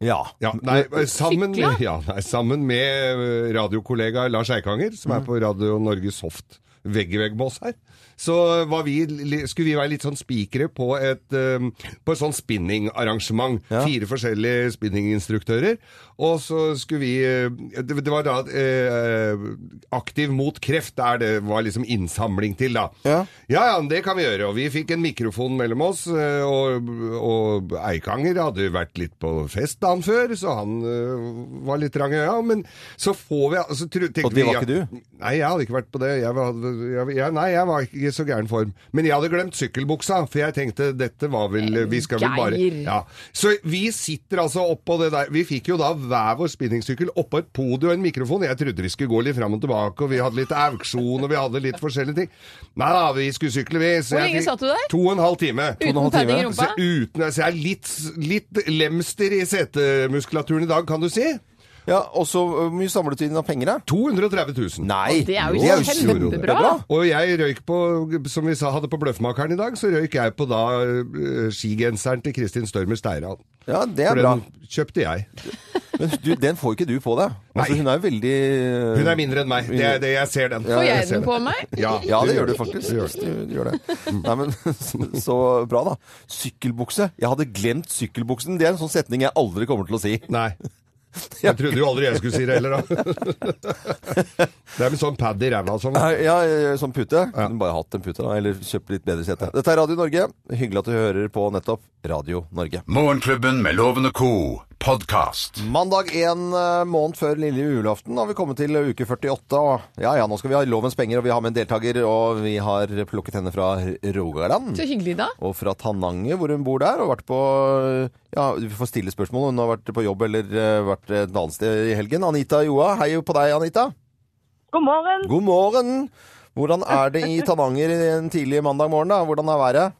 S2: ja.
S4: Ja, nei, sammen,
S3: Sykla?
S4: ja, nei, sammen med eh, radiokollega Lars Eikanger, som er på Radio Norge Soft vegg i vegg med oss her, så var vi, li- skulle vi være litt sånn spikere på et, eh, på et sånn spinningarrangement.
S2: Ja.
S5: Ja.
S4: Fire forskjellige spinninginstruktører. Og så skulle vi eh, Det, det var da eh, Aktiv mot kreft, der det var liksom innsamling til, da.
S2: Ja.
S4: Ja, ja, men det kan vi gjøre. Og vi fikk en mikrofon mellom oss, eh, og, og Eikanger hadde jo vært litt på fest dagen før, så han eh, var litt trang i øya. Men så får vi altså, tro, tenkte
S2: Og det var
S4: vi, ja,
S2: ikke du?
S4: Nei, jeg hadde ikke vært på det. Jeg var, jeg, jeg, nei, jeg var ikke i så gæren form. Men jeg hadde glemt sykkelbuksa, for jeg tenkte dette var vel Vi skal vel bare
S3: Geir.
S4: ja. Så vi sitter altså oppå det der Vi fikk jo da hver vår spinningsykkel oppå et podium og en mikrofon. Jeg trodde vi skulle gå litt fram og tilbake, og vi hadde litt auksjon, og vi hadde litt forskjellige ting. Nei da, vi skulle sykle, vi. Så
S3: Hvor
S4: jeg
S3: lenge
S4: fikk
S3: satt du der?
S4: To og en halv time.
S2: og en halv
S3: Uten padding i
S2: time.
S4: Så
S3: rumpa?
S4: uten, så jeg er litt, litt lemster i setemuskulaturen i dag, kan du si.
S2: ja og så eh, hvor mye samlet du inn av penger, da?
S4: 230 000.
S2: Nei!
S3: Det er jo
S4: Det er jo
S3: kjempebra!
S2: kjempebra.
S4: Og jeg røyk på, som vi sa, hadde på Bløffmakeren i dag, så røyk jeg på da eh, skigenseren til Kristin Størmer Steiran.
S2: Ja, det er
S4: For
S2: bra.
S4: den kjøpte jeg.
S2: Men du, den får ikke du på deg. Altså,
S4: Nei.
S2: hun er jo veldig eh,
S4: Hun er mindre enn meg. Det er det jeg ser den.
S3: Får
S4: jeg
S3: jeg
S4: ser
S3: den på meg?
S4: Ja,
S2: Ja, det gjør
S4: det.
S2: du faktisk. Du
S4: Du gjør
S2: gjør det. Nei, men, *laughs* så, så bra, da. Sykkelbukse. Jeg hadde glemt sykkelbuksen. Det er en sånn setning jeg aldri kommer til å si.
S4: Nei. Jeg trodde jo aldri jeg skulle si det heller, da. Det er med sånn pad i ræva og sånn.
S2: Nei, Ja, eh, som pute. Kunne bare hatt en pute, da. Eller kjøpt litt bedre sete. Dette er Radio Norge. Hyggelig at du hører på nettopp Radio Norge.
S1: Morgenklubben med Loven og Co. Podcast.
S2: Mandag en eh, måned før lille julaften har vi kommet til uke 48. Og ja, ja, nå skal vi ha Lovens penger, og vi har med en deltaker, og vi har plukket henne fra Rogaland.
S3: Så hyggelig, da.
S2: og fra Tananger, hvor hun bor der, og vært på eh, Ja, du får stille spørsmål. Hun har vært på jobb eller eh, vært et annet sted i helgen. Anita Joa, hei på deg, Anita.
S8: God morgen.
S2: God morgen! Hvordan er det i Tananger en tidlig mandag morgen, da? Hvordan er været?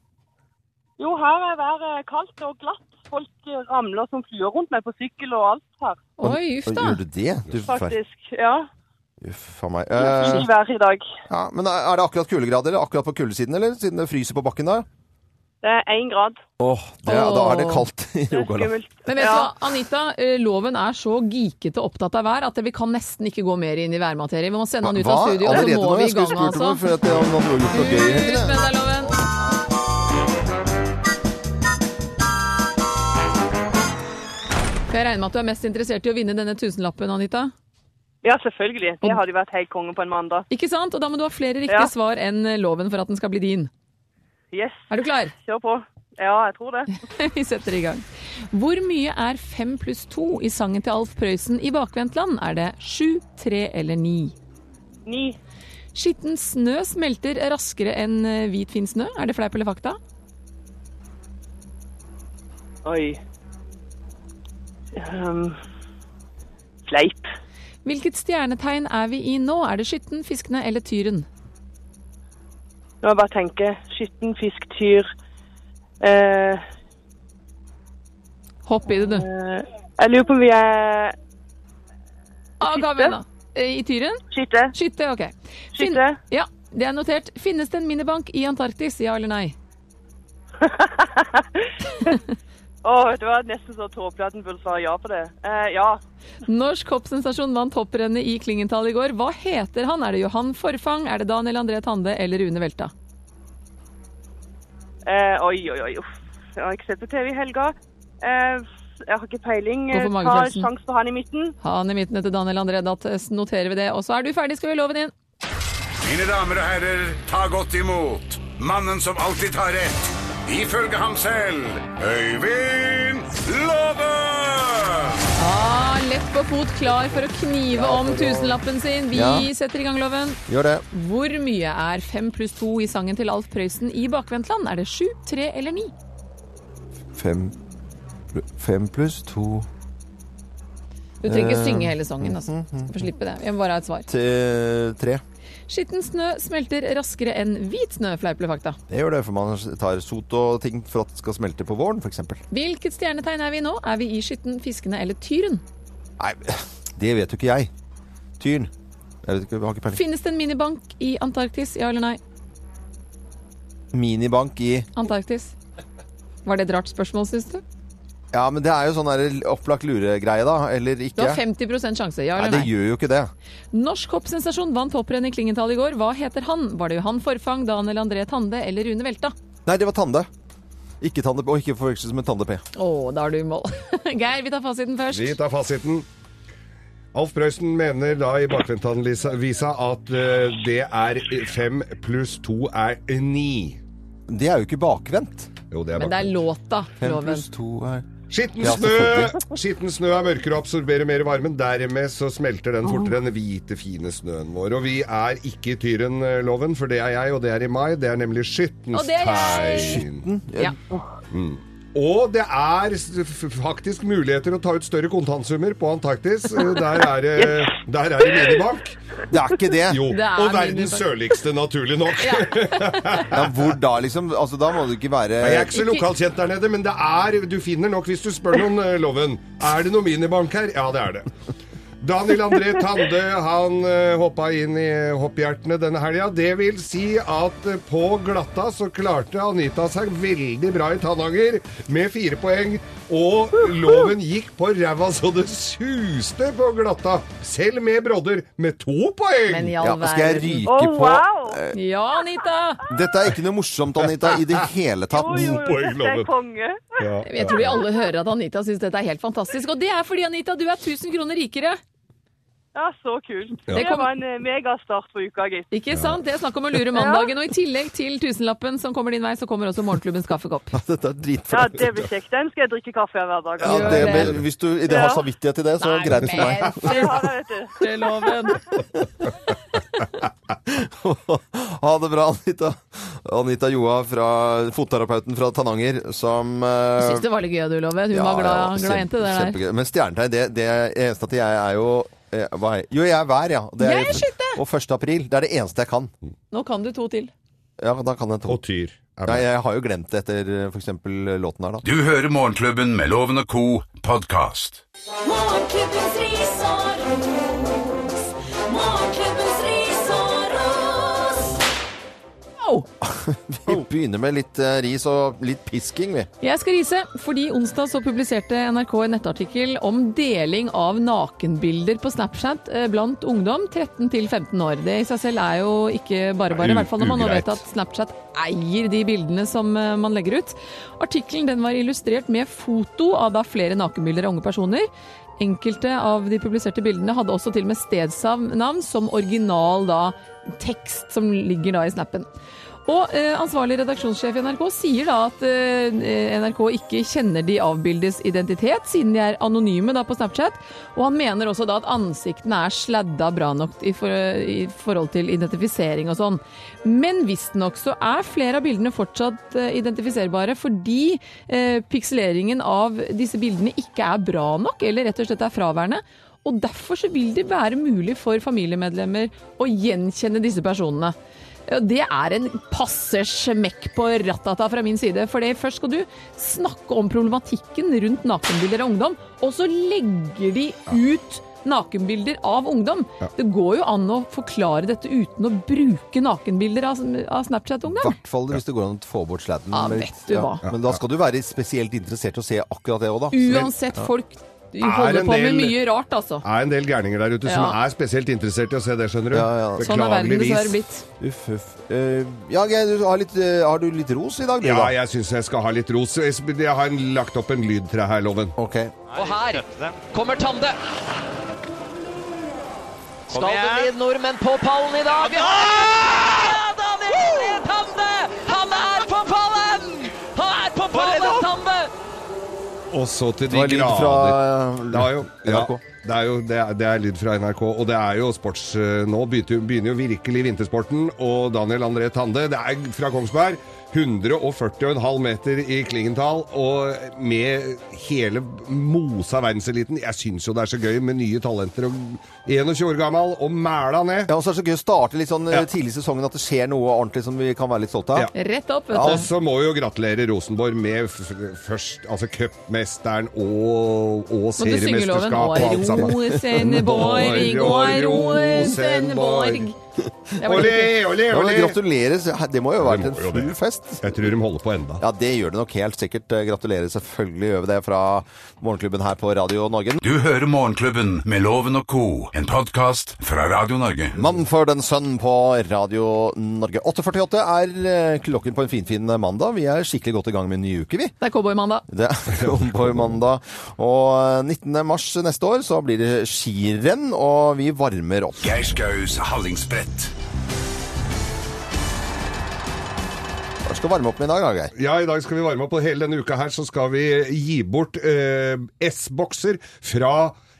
S8: Jo, her er været kaldt og glatt. Folk ramler som fluer rundt meg på sykkel og alt her,
S3: Oi, uff da.
S2: Gjør du det? Du, fer-
S8: faktisk. Ja.
S2: Uff a meg.
S8: Det er
S2: Eh,
S8: Skivær i dag.
S2: ja, men er er det akkurat kuldegrader? Akkurat på kuldesiden, eller? Siden det fryser på bakken der?
S8: Det er én grad.
S2: Åh, det, er- da er det
S3: Åh.
S2: kaldt i
S8: Det er
S2: Rogaland.
S8: skummelt.
S3: Men vet du
S8: ja.
S3: hva, Anita, eh, loven er så geekete og opptatt av vær at vi kan nesten ikke gå mer inn i værmaterie. Vi må sende han ut av studio, og
S2: Allerede
S3: så må
S2: nå?
S3: vi
S2: Jeg
S3: i
S2: skulle
S3: gang,
S2: spurt om
S3: altså.
S2: det, for at jeg hadde gjort noe gøy i helgen.
S3: Ut
S2: jeg.
S3: med deg, loven. For Jeg regner med at du er mest interessert i å vinne denne tusenlappen, Anita.
S8: ja, selvfølgelig. Det hadde jo vært helt konge på en mandag.
S3: Ikke sant? Og da må du ha flere riktige
S8: Ja.
S3: svar enn eh, loven for at den skal bli din.
S8: Yes,
S3: Er du klar?
S8: kjør på. Ja, jeg tror det.
S3: *laughs* Vi setter i gang. Hvor mye er fem pluss to i sangen til Alf Prøysen i Bakvendtland? Er det sju, tre eller ni?
S8: Ni.
S3: Skitten snø smelter raskere enn eh, hvit fin snø. Er det fleip eller fakta?
S8: Oi. Ehm, fleip.
S3: Hvilket stjernetegn er vi i nå? Er det skytten, fiskene eller tyren?
S8: Nå må jeg bare tenke. Skitten, fisk, tyr. Eh,
S3: Hopp i det, du.
S8: eh, jeg lurer på om vi er
S3: Ah, hva med da? Eh, I tyren?
S8: Skytte.
S3: Skytte, OK. Fin-
S8: Skytte.
S3: Ja, det er notert. Finnes det en minibank i Antarktis, ja eller nei?
S8: Åh, det var nesten så tåpelig at en burde svare ja på det. Eh, ja.
S3: Norsk hoppsensasjon vant hopprennet i Klingenthal i går. Hva heter han? Er det Johan Forfang, er det Daniel André Tande eller Rune Velta?
S8: Eh, oi, oi, oi. Uff. Jeg har ikke sett på TV i helga. Eh, jeg har ikke peiling.
S3: Gå for
S8: Eh, Ta
S3: magefølelsen.
S8: en sjanse på han i midten.
S3: Han i midten etter Daniel André, da noterer vi det. Og så er du ferdig, skal vi love den inn.
S1: Mine damer og herrer, ta godt imot mannen som alltid tar rett. Ifølge ham selv Øyvind Låve!
S3: Ah, lett på fot, klar for å knive om tusenlappen sin. Vi
S2: Ja.
S3: setter i gang loven.
S2: Gjør det.
S3: Hvor mye er fem pluss to i sangen til Alf Prøysen i Bakvendtland? Er det sju, tre eller ni?
S2: Fem, pl- fem pluss to Eh, mm,
S3: Du trenger ikke synge hele sangen, altså. Skal få slippe det. Jeg må bare ha et svar.
S2: til tre.
S3: Skitten snø smelter raskere enn hvit snø, fleiplefakta.
S2: Det gjør det, for man tar sot og ting for at det skal smelte på våren, f.eks.
S3: Hvilket stjernetegn er vi i nå? Er vi i Skytten, Fiskene eller Tyren?
S2: Nei, det vet jo ikke jeg. Tyren. Jeg vet ikke, jeg har ikke peiling.
S3: Finnes det en minibank i Antarktis? Ja eller nei?
S2: Minibank i
S3: Antarktis. Var det et rart spørsmål, syns du?
S2: Ja, men det er jo sånn der opplagt luregreie, da. Eller
S3: Du
S2: ikke.
S3: har 50 sjanse, ja
S2: Nei,
S3: eller
S2: det
S3: nei?
S2: gjør jo ikke det.
S3: Norsk hoppsensasjon vant hopprenn i Klingenthal i går. Hva heter han? Var det Johan Forfang, Daniel André Tande eller Rune Velta?
S2: Nei, det var Tande. Ikke Tande P, og ikke forveksles med Tande P.
S3: Å, da er du i mål. *laughs* Geir, vi tar fasiten først.
S4: Vi tar fasiten. Alf Prøysen mener da i Bakvendtavisa at eh, det er fem pluss to er ni.
S2: Det er jo ikke bakvendt.
S4: Jo, det er
S3: Men det er
S4: bakvendt.
S3: låta,
S2: Fem
S3: loven.
S2: pluss to er
S4: Skitten
S2: Ja,
S4: snø! Skitten snø er mørkere og absorberer mer varmen. Dermed så smelter den fortere enn hvite, fine snøen vår. Og vi er ikke i Tyrenloven, for det er jeg, og det er i mai. Det er nemlig
S3: Og
S4: skyttens
S3: det er jeg!
S4: tegn. Mm.
S3: Ja.
S4: Og det er s- f- faktisk muligheter å ta ut større kontantsummer på Antarktis. Eh, Der er det, der er det minibank.
S2: Det er ikke det.
S4: Jo,
S3: Det er
S4: og verdens
S3: minibank.
S4: sørligste, naturlig nok.
S2: Ja, hvor da, liksom? Altså, da må det ikke være
S4: Jeg er ikke så
S3: Eh, Ikke-
S4: lokalkjent der nede, men det er, du finner nok hvis du spør noen, eh, Loven. Er det noe minibank her? Ja, det er det. Daniel André Tande han eh, hoppa inn i hopphjertene denne helga. Det vil si at eh, på glatta så klarte Anita seg veldig bra i Tananger med fire poeng. Og loven gikk på ræva så det suste på glatta. Selv med brodder med to poeng.
S3: Men i
S2: ja,
S3: all
S2: Skal jeg
S3: verden.
S2: ryke
S8: Å,
S2: på
S8: wow!
S3: Ja, Anita!
S2: Dette er ikke noe morsomt, Anita, i det hele tatt. *laughs*
S8: Jo, jo, jo,
S4: poeng,
S8: dette
S4: Loven.
S8: er konge.
S4: Ja.
S3: Jeg tror vi alle hører at Anita syns dette er helt fantastisk. Og det er fordi, Anita, du er 1000 kroner rikere.
S8: Ja, så kult.
S3: Det
S8: Det
S3: kom-
S8: var en eh, megastart på uka, gitt.
S3: Ikke sant? Det er snakk om å lure mandagen. Og i tillegg til tusenlappen som kommer din vei, så kommer også morgenklubbens kaffekopp.
S2: Dette er
S8: Ja,
S2: dritflaut.
S8: det blir kjekt. Den skal jeg drikke kaffe av hver dag.
S2: Ja,
S3: Gjør
S2: det,
S3: det.
S2: men hvis du i det har
S8: Ja.
S2: samvittighet til det, så greit for meg.
S8: Det har jeg, vet du.
S3: Det er loven.
S2: *laughs* ha det bra, Anita. Anita Joa, fra, fotterapeuten fra Tananger, som
S3: Jeg
S2: eh,
S3: syns det var litt gøy, du, Loven. Hun var glad, glad jente, det der.
S2: Kjempegøy. Men stjernetegn, det, det eneste at jeg er jo eh, hva er jeg? Jo, jeg er vær, ja. Og det
S3: Jeg er skytte!
S2: Og 1. april. Det er det eneste jeg kan.
S3: Nå kan du to til.
S2: Ja, da kan jeg to.
S4: Og Tyr. er
S2: Nei,
S4: med.
S2: jeg har jo glemt det etter eh, f.eks. låten her, da.
S1: Du hører Morgenklubben med Loven og Co. podcast.
S5: Morgenklubbens ris og ros. Morgenklubbens ris og ros.
S3: Au!
S2: Vi begynner med litt eh, ris og litt pisking, vi.
S3: Jeg skal rise, fordi onsdag så publiserte NRK en nettartikkel om deling av nakenbilder på Snapchat eh, blant ungdom 13 til 15 år. Det i seg selv er jo ikke bare bare, i hvert fall når man nå vet
S4: Ugreit.
S3: at Snapchat eier de bildene som eh, man legger ut. Artikkelen den var illustrert med foto av da flere nakenbilder av unge personer. Enkelte av de publiserte bildene hadde også til og med stedsnavn som original da, tekst som ligger da i snappen. Og eh, ansvarlig redaksjonssjef i NRK sier da at eh, NRK ikke kjenner de avbildes identitet, siden de er anonyme da på Snapchat. Og han mener også da at ansiktene er sladda bra nok i, for, i forhold til identifisering og sånn. Men visstnok så er flere av bildene fortsatt eh, identifiserbare fordi eh, pikseleringen av disse bildene ikke er bra nok, eller rett og slett er fraværende. Og derfor så vil det være mulig for familiemedlemmer å gjenkjenne disse personene. Ja, Det er en passe smekk på rattata fra min side. For det først skal du snakke om problematikken rundt nakenbilder av ungdom, og så legger de ut nakenbilder av ungdom. Det går jo an å forklare dette uten å bruke nakenbilder av, av
S2: I
S3: Snapchat-ungdom.
S2: hvert fall hvis det går an å få bort sladden.
S3: Ja,
S2: Men-
S3: vet du hva.
S2: Men da skal du være spesielt interessert i å se akkurat det òg, da.
S3: Uansett, folk holder
S4: en
S3: på med
S4: del-
S3: mye rart, altså.
S4: er en del gærninger der ute som
S3: Ja.
S4: er spesielt interessert i å se det, skjønner du.
S2: Ja, ja.
S3: Sånn er verden dessverre blitt.
S2: Uff, uff. Eh, ja, Geir, du har, litt, eh, har du litt ros i dag, du,
S4: Ja,
S2: da?
S4: jeg syns jeg skal ha litt ros. Jeg har en- lagt opp en lyd fra her, Loven.
S2: Ok.
S9: Og her kommer Tande. Skal det bli en nordmenn på pallen i dag? Ja, Daniel André Tande! Han er på pallen! Han er på pallen, Tande!
S4: Og så til
S2: Det var
S4: de
S2: lyd
S4: grader.
S2: fra eh,
S4: Det er jo, ja,
S2: NRK.
S4: det er jo det er, det er lyd fra NRK, og det er jo sports... eh, Nå begynte, begynner jo virkelig vintersporten, og Daniel André Tande, det er fra Kongsberg, 140,5 meter i Klingenthal, og med hele mosa verdenseliten. Jeg syns jo det er så gøy med nye talenter, og 21 år gammel, og mæla ned.
S2: Ja, og så er det så gøy å starte litt sånn eh,
S4: Ja.
S2: tidlig i sesongen at det skjer noe ordentlig som vi kan være litt stolte av.
S4: Ja.
S3: Rett opp, vet
S4: Og
S3: du.
S4: så må vi jo gratulere Rosenborg med f f- først altså cupmesteren og, og
S3: Må du synge
S4: seriemesterskap
S3: loven?
S4: og alt sammen. *laughs*
S3: Rosenborg,
S4: Rosenborg,
S3: Rosenborg. Det var
S4: Olé,
S3: litt kult.
S4: olé,
S2: Ja, men
S4: olé!
S2: gratulerer. Det må jo ha vært
S4: Det
S2: en
S4: må jo
S2: full
S4: det.
S2: fest.
S4: Jeg tror de holder på enda.
S2: Ja, det gjør det nok helt sikkert. Eh, Gratulerer selvfølgelig gjør vi det fra morgenklubben her på Radio Norge.
S1: Du hører Morgenklubben med Loven og co., en podkast fra Radio Norge.
S2: Manford and Son på Radio Norge. 8.48 er eh, klokken på en finfin mandag. Vi er skikkelig godt i gang med en ny uke, vi.
S3: Det er cowboymandag.
S2: Det
S4: *laughs*
S2: er Homboy-mandag. Og 19. mars neste år så blir det skirenn, og vi varmer opp.
S1: Geir Skaus Hallingsbrett.
S2: Hva skal varme opp med i dag, da, Geir?
S4: Ja, i dag skal vi varme opp, og hele denne uka her så skal vi gi bort eh, S-bokser fra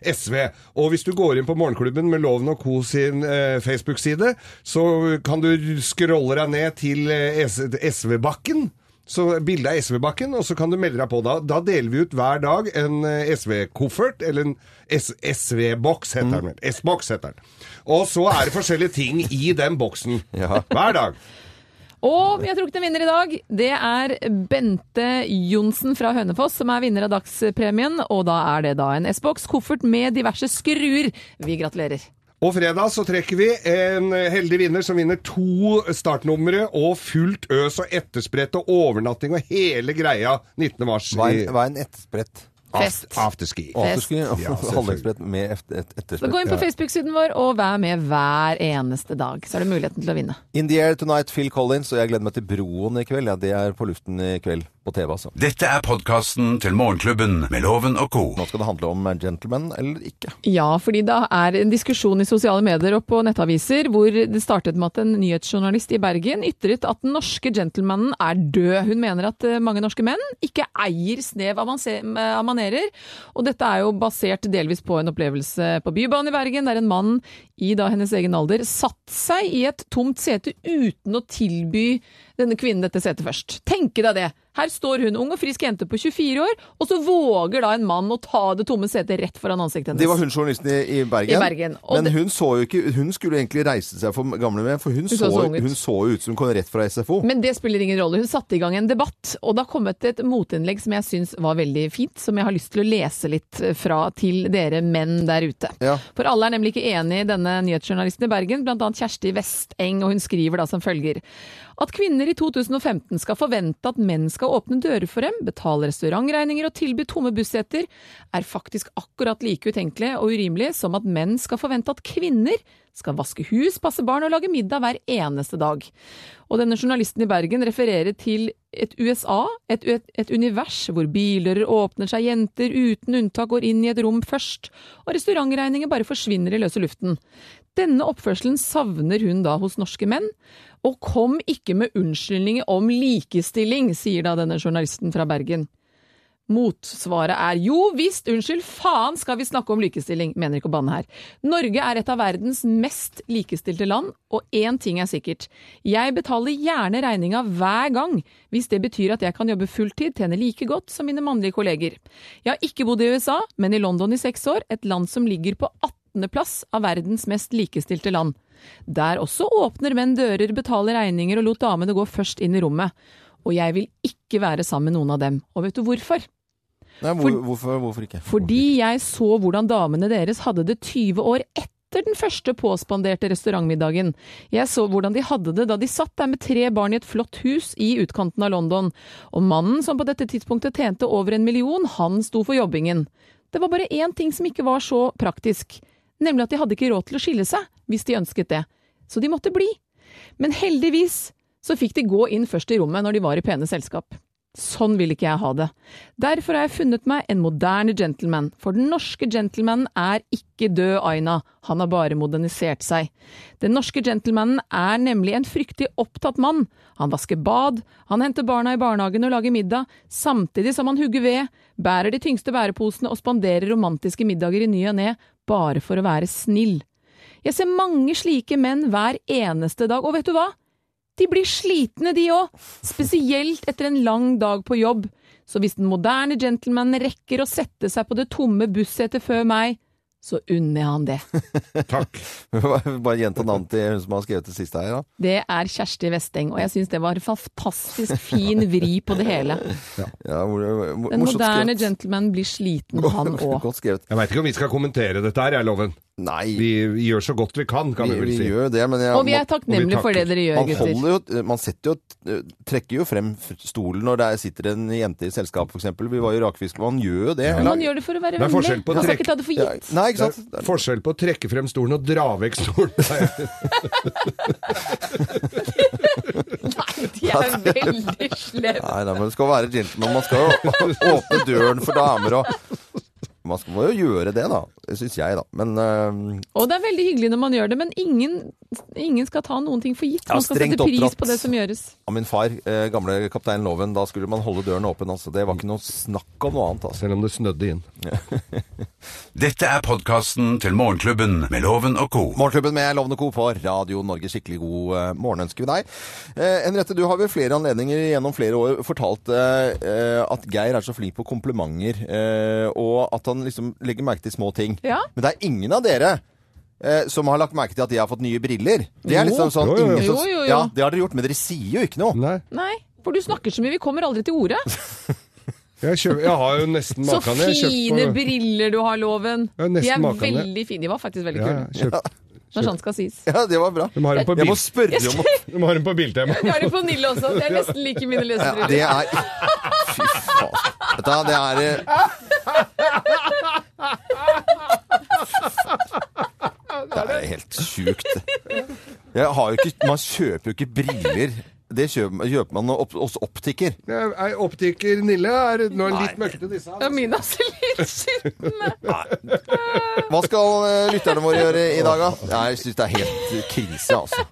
S4: SV. Og hvis du går inn på Morgenklubben med Loven og Co sin eh, Facebook-side, så kan du scrolle deg ned til eh, S- SV-bakken. Så bildet av SV-bakken, og så kan du melde deg på da. Da deler vi ut hver dag en eh, SV-koffert, eller en S- SV-boks heter den vel. S-boks heter den. Og så er det forskjellige ting i den boksen.
S2: Ja.
S4: Hver dag.
S3: Og vi har trukket en vinner i dag. Det er Bente Johnsen fra Hønefoss som er vinner av dagspremien. Og da er det da en S-boks, koffert med diverse skruer. Vi gratulerer.
S4: Og fredag så trekker vi en heldig vinner som vinner to startnumre og fullt øs og ettersprett og overnatting og hele greia 19. mars.
S2: Hva
S4: i
S2: er en, hva er en ettersprett?
S3: Fest.
S4: aft- Afterski.
S3: Fest.
S2: Afterski?
S4: Ja, selvfølgelig.
S2: Halvdagsbrett med et- et-
S3: Så gå inn
S2: ettersprett.
S3: på Facebook-siden vår og vær med hver eneste dag. Så er det muligheten til å vinne.
S2: In the air tonight, Phil Collins, og jeg gleder meg til Broen i kveld. Ja, det er på luften i kveld på TV, altså.
S1: Dette er podkasten til Morgenklubben med Loven og co.
S2: Nå skal det handle om gentleman eller ikke.
S3: Ja, fordi det er en diskusjon i sosiale medier og på nettaviser hvor det startet med at en nyhetsjournalist i Bergen ytret at den norske gentlemanen er død. Hun mener at eh, mange norske menn ikke eier snev av manse- av manerer. Og dette er jo basert delvis på en opplevelse på Bybanen i Bergen, der en mann i da hennes egen alder satt seg i et tomt sete uten å tilby denne kvinnen dette setet først. Tenke deg det! Her står hun, ung og frisk jente på 24 år, og så våger da en mann å ta det tomme setet rett foran ansiktet hennes.
S2: Det var hun journalisten i, i Bergen.
S3: I Bergen, og
S2: Men
S3: det-
S2: hun så jo ikke Hun skulle egentlig reise seg for gamle menn, for hun,
S3: så
S2: så,
S3: så ung ut.
S2: hun så jo ut som hun kom rett fra SFO.
S3: Men det spiller ingen rolle. Hun satte i gang en debatt, og da kom det et motinnlegg som jeg syns var veldig fint, som jeg har lyst til å lese litt fra til dere menn der ute.
S2: Ja.
S3: For alle er nemlig ikke enig i denne nyhetsjournalisten i Bergen, bl.a. Kjersti Westeng, og hun skriver da som følger. At kvinner i 2015 skal forvente at menn skal åpne dører for dem, betale restaurantregninger og tilby tomme busseter, er faktisk akkurat like utenkelig og urimelig som at menn skal forvente at kvinner skal vaske hus, passe barn og lage middag hver eneste dag. Og denne journalisten i Bergen refererer til et USA, et, u- et univers hvor bildører åpner seg, jenter uten unntak går inn i et rom først, og restaurantregninger bare forsvinner i løse luften. Denne oppførselen savner hun da hos norske menn, og kom ikke med unnskyldninger om likestilling, sier da denne journalisten fra Bergen. Motsvaret er jo visst, unnskyld, faen skal vi snakke om likestilling, mener ikke å banne her. Norge er et av verdens mest likestilte land, og én ting er sikkert. Jeg betaler gjerne regninga hver gang, hvis det betyr at jeg kan jobbe fulltid, tjene like godt som mine mannlige kolleger. Jeg har ikke bodd i USA, men i London i seks år, et land som ligger på 18. plass av verdens mest likestilte land. Der også åpner menn dører, betaler regninger og lot damene gå først inn i rommet. Og jeg vil ikke være sammen med noen av dem. Og vet du hvorfor?
S2: Nei, hvor, hvorfor, hvorfor ikke? *laughs*
S3: Fordi jeg så hvordan damene deres hadde det 20 år etter den første påspanderte restaurantmiddagen. Jeg så hvordan de hadde det da de satt der med tre barn i et flott hus i utkanten av London. Og mannen som på dette tidspunktet tjente over en million, han sto for jobbingen. Det var bare én ting som ikke var så praktisk, nemlig at de hadde ikke råd til å skille seg hvis de ønsket det. Så de måtte bli. Men heldigvis så fikk de gå inn først i rommet når de var i pene selskap. Sånn vil ikke jeg ha det. Derfor har jeg funnet meg en moderne gentleman, for den norske gentlemanen er ikke død, Aina, han har bare modernisert seg. Den norske gentlemanen er nemlig en fryktig opptatt mann. Han vasker bad, han henter barna i barnehagen og lager middag, samtidig som han hugger ved, bærer de tyngste bæreposene og spanderer romantiske middager i ny og ne, bare for å være snill. Jeg ser mange slike menn hver eneste dag, og vet du hva? De blir slitne, de òg. Spesielt etter en lang dag på jobb. Så hvis den moderne gentleman rekker å sette seg på det tomme bussetet før meg, så unner jeg han det.
S4: *laughs* Takk.
S2: Bare gjenta navnet til hun som har skrevet det siste her. Da.
S3: Det er Kjersti Westeng, og jeg syns det var en fantastisk fin vri på det hele.
S2: Ja, hvor, hvor,
S3: Den
S2: morsomt
S3: moderne
S2: skrevet.
S3: gentleman blir sliten,
S2: *laughs*
S3: han òg.
S2: Godt skrevet.
S4: Jeg veit ikke om vi skal kommentere dette her, jeg, Loven.
S2: Nei,
S4: Vi gjør så godt vi kan, kan
S2: vi,
S4: vi vel
S2: vi
S4: si.
S2: gjør det, men jeg,
S3: Og vi er takknemlige for det
S4: takker.
S3: dere gjør,
S2: man
S3: gutter.
S2: holder jo Man setter jo Trekker jo frem stolen når det er- sitter en jente i selskap, f.eks. Vi var jo rakfisk, man gjør jo det.
S3: Men man gjør det for å være
S4: Det er
S3: vennlig.
S4: forskjell på
S3: Man skal
S4: trekk-
S3: ikke ta det for
S2: Ja,
S3: gitt.
S2: Nei, ikke
S4: Det
S2: sant?
S4: er forskjell på å trekke frem stolen og dra
S2: *laughs*
S4: vekk stolen.
S3: Nei, de er veldig slemme.
S2: Nei, nei, men det skal være gentleman. Man skal jo *laughs* åpne døren for damer og Man skal må jo gjøre det, da. Syns jeg, da. Men øh,
S3: Og det er veldig hyggelig når man gjør det, men ingen, ingen skal ta noen ting for gitt.
S2: Ja,
S3: Man skal sette
S2: strengt
S3: pris
S2: oppdratt.
S3: på det som gjøres.
S2: av min far, eh, gamle kaptein Loven, da skulle man holde døren åpen. Altså. Det var ikke noe snakk om noe annet. Altså.
S4: Selv om det snødde inn.
S1: Dette er podkasten til Morgenklubben med Loven og co.
S2: Morgenklubben med Lovende Co. på Radio Norge. Skikkelig god eh, morgen ønsker vi deg. Eh, Henriette, du har ved flere anledninger gjennom flere år fortalt eh, eh, at Geir er så flink på komplimenter, eh, og at han liksom legger merke til små ting.
S3: Ja.
S2: Men det er ingen av dere eh, som har lagt merke til at jeg har fått nye briller. Det er liksom sånn
S4: Jo, jo, jo.
S2: ingen som-
S3: Jo, jo, jo.
S2: Ja, det har dere gjort, men dere sier jo ikke noe. *laughs*
S4: Nei.
S3: Nei, for du snakker så mye, vi kommer aldri til
S4: *laughs*
S3: ordet.
S4: Jeg, kjøp, jeg har jo nesten
S3: Så
S4: makan. jeg
S3: fine
S4: kjøpt på-
S3: briller du har, Loven.
S4: Ja, nesten
S3: De er
S4: maken, ja.
S3: veldig fine. De var faktisk veldig
S4: Ja,
S3: kule.
S4: jeg har kjøpt.
S3: Når sånt skal sies.
S2: Ja, det var bra.
S4: De har den på,
S2: Jeg må
S4: bil,
S2: spørre om å
S4: de har den på Biltema.
S2: *laughs*
S3: Vi har det på Nille også. Det er nesten like mine
S2: Ja,
S3: lesebriller.
S2: det er *laughs* Fy faen. Vet du hva, det er
S4: *laughs*
S2: eh, Det er helt sjukt. Jeg har jo ikke, man kjøper jo ikke briller. Det kjøper, kjøper man opp, hos optiker.
S4: Jeg er Optiker Nille er nå er litt mørkete disse her.
S3: Ja, mine er også litt skitne.
S2: Hva skal eh, lytterne våre gjøre i dag, da? Nei, Jeg syns det er helt krise, altså.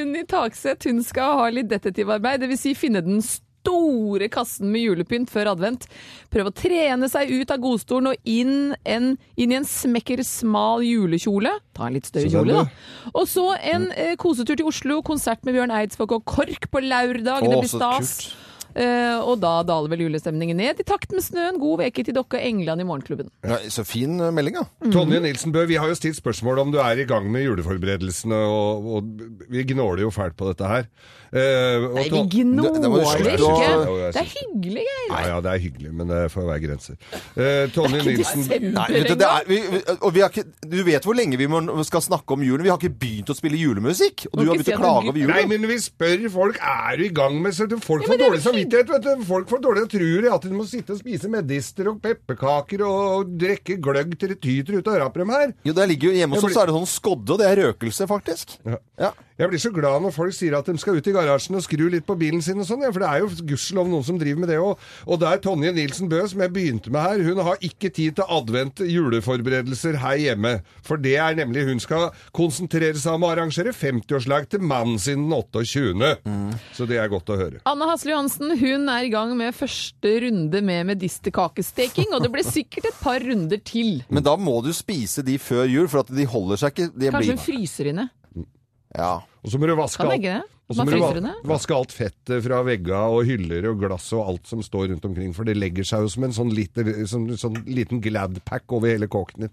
S3: Unni Takseth hun skal ha litt detektivarbeid, dvs. Si finne den store kassen med julepynt før advent. Prøve å trene seg ut av godstolen og inn, en, inn i en smekker smal julekjole. Ta en litt større
S4: Så den,
S3: kjole,
S4: ja.
S3: da. Og så en eh, kosetur til Oslo, konsert med Bjørn Eidsvåg og KORK på lørdag.
S2: Å,
S3: Det blir
S2: så
S3: stas.
S2: kult.
S3: Eh, og da daler vel julestemningen ned, i takt med snøen. God veke til dere og England i morgenklubben.
S2: Nei, så fin eh, melding,
S3: Mhm.
S2: da.
S4: Tonje Nilsen Bø, vi har jo stilt spørsmål om du er i gang med juleforberedelsene, og, og vi gnåler jo fælt på dette her. Eh, og
S3: Nei, vi
S4: Ton-
S3: gnåler
S2: Det- det må du slutte
S4: å-
S3: ikke. Det er hyggelig, Geir.
S4: Ja, ja, det er hyggelig, men det får være grenser. Eh, Tonje
S3: Ikke
S2: Nei,
S4: Nilsen
S3: desember
S2: vet du, det
S3: engang.
S2: er, vi, vi- og vi har ikke, du vet hvor lenge vi må, skal snakke om julen. Vi har ikke begynt å spille julemusikk. Og
S3: Må
S2: du har
S3: ikke si
S2: begynt å
S3: at du-
S2: klage over
S4: Nei,
S2: julen.
S4: men vi spør folk er du i gang med så Folk får
S3: det er
S4: dårlig samvittighet, vet du. Folk får dårlig truer i at de må sitte og spise medister og pepperkaker og drikke gløgg til det tyter ut av rapprem her.
S2: Jo, der ligger jo Hjemme hos
S4: Jeg
S2: oss er det sånn skodde, og det er røkelse, faktisk.
S4: Ja.
S2: Ja.
S4: Jeg blir så glad når folk sier at de skal ut i garasjen og skru litt på bilen sin og sånn, ja, for det er jo gudskjelov noen som driver med det òg. Og der Tonje Nilsen Bø, som jeg begynte med her, hun har ikke tid til advent juleforberedelser her hjemme. For det er nemlig hun skal konsentrere seg om å arrangere 50-årslag til mannen sin den 28.
S3: Mm.
S4: Så det er godt å høre.
S3: Anne Hasle Johansen hun er i gang med første runde med medisterkakesteking, og det blir sikkert et par runder til.
S2: Men da må du spise de før jul, for at de holder seg ikke. De
S3: Kanskje hun
S2: blir,
S3: fryser inne.
S2: ja.
S4: Og så må du vaske
S3: Kan
S4: alt,
S3: jeg ikke det?
S4: og så
S3: Man
S4: må du
S3: fryser
S4: va-
S3: inne.
S4: vaske alt fettet fra vegga og hyller og glass og alt som står rundt omkring, for det legger seg jo som en sånn, lite, sånn, sånn liten Gladpack over hele kåken din.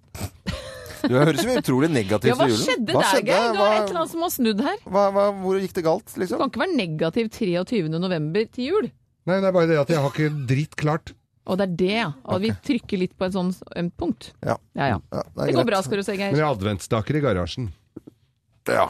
S2: Du høres jo utrolig negativ
S3: *laughs* Ja, hva
S2: til julen.
S3: skjedde der, Geir? Det er et eller annet som har snudd her.
S2: hva, hva, hvor gikk det galt,
S3: Du
S2: liksom?
S3: kan ikke være negativ 23. november til jul.
S4: Nei, det er bare det at jeg har ikke dritt klart.
S3: Og det er det, ja. Og vi trykker litt på et sånt ømt punkt.
S2: Ja.
S3: Ja, ja.
S2: Ja,
S3: Det går bra, skal du se,
S4: Men
S3: Geir.
S4: jeg har adventstaker i garasjen.
S2: Ja.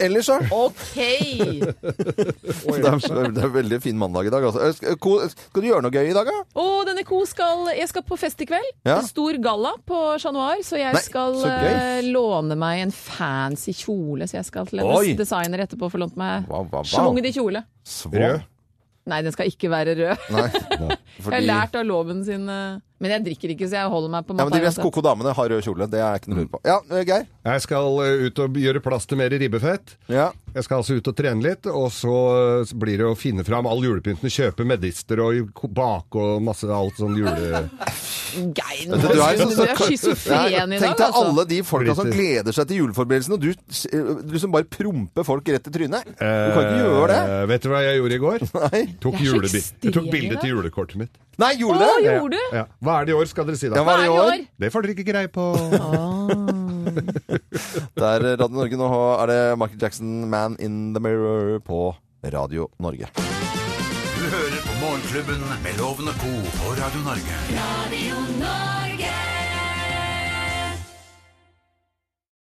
S2: Ellers,
S3: *laughs*
S2: da?
S3: OK!
S2: Det er, det er veldig fin mandag i dag, altså. Eh, Skal, ko- skal du gjøre noe gøy i dag, da?
S3: Og denne ko skal Jeg skal på fest i kveld.
S2: Ja.
S3: En Stor galla på Chat Noir. Så jeg
S2: Nei,
S3: skal
S2: så gøy.
S3: eh, låne meg en fancy kjole. Så jeg skal til en
S2: Oi.
S3: designer etterpå og få lånt meg
S2: Wow, wow, wow.
S3: schwungen i kjole.
S2: Svå.
S4: Rød.
S3: *laughs* Nei, den skal ikke være rød.
S2: Nei.
S3: Jeg har lært av loven sin eh, Men jeg drikker ikke, så jeg holder meg på
S2: Ja, men De
S3: Matara
S2: mest
S3: Sats.
S2: koko damene har rød kjole. Det er ikke noe lurt på. Ja, eh, Geir?
S4: Jeg skal eh, ut og gjøre plass til mer ribbefett.
S2: Ja.
S4: Jeg skal altså ut og trene litt, og så eh, så blir det å finne fram all julepynten. Kjøpe medister og ko- bake og masse alt sånn jule...
S2: Vet
S3: Geir, nå
S2: du, du er
S3: er
S2: sånn-
S3: du er schizofren i dag,
S2: Tenk deg
S3: altså.
S2: alle de folka som gleder seg til juleforberedelsene, og du, s- eh, du som bare promper folk rett i trynet. Du kan ikke gjøre det.
S4: Eh, Vet du hva jeg gjorde i går?
S2: Nei,
S4: Tok
S3: Jeg er så
S4: julebi- Jeg tok
S3: ekstrem i
S4: bilde
S3: dag.
S4: til julekortet mitt.
S2: Nei gjorde
S3: Å,
S2: du det?
S3: jo. Gjorde du?
S4: Ja. Hva er det i år, skal dere si da?
S2: Ja, hva er det i år?
S4: Det får dere ikke greie på.
S2: Det er Radio Norge. Nå er det Michael Jackson, 'Man in the Mirror', på Radio Norge.
S1: Du hører på Morgenklubben med Lovende Co på Radio Norge.
S5: Radio Norge.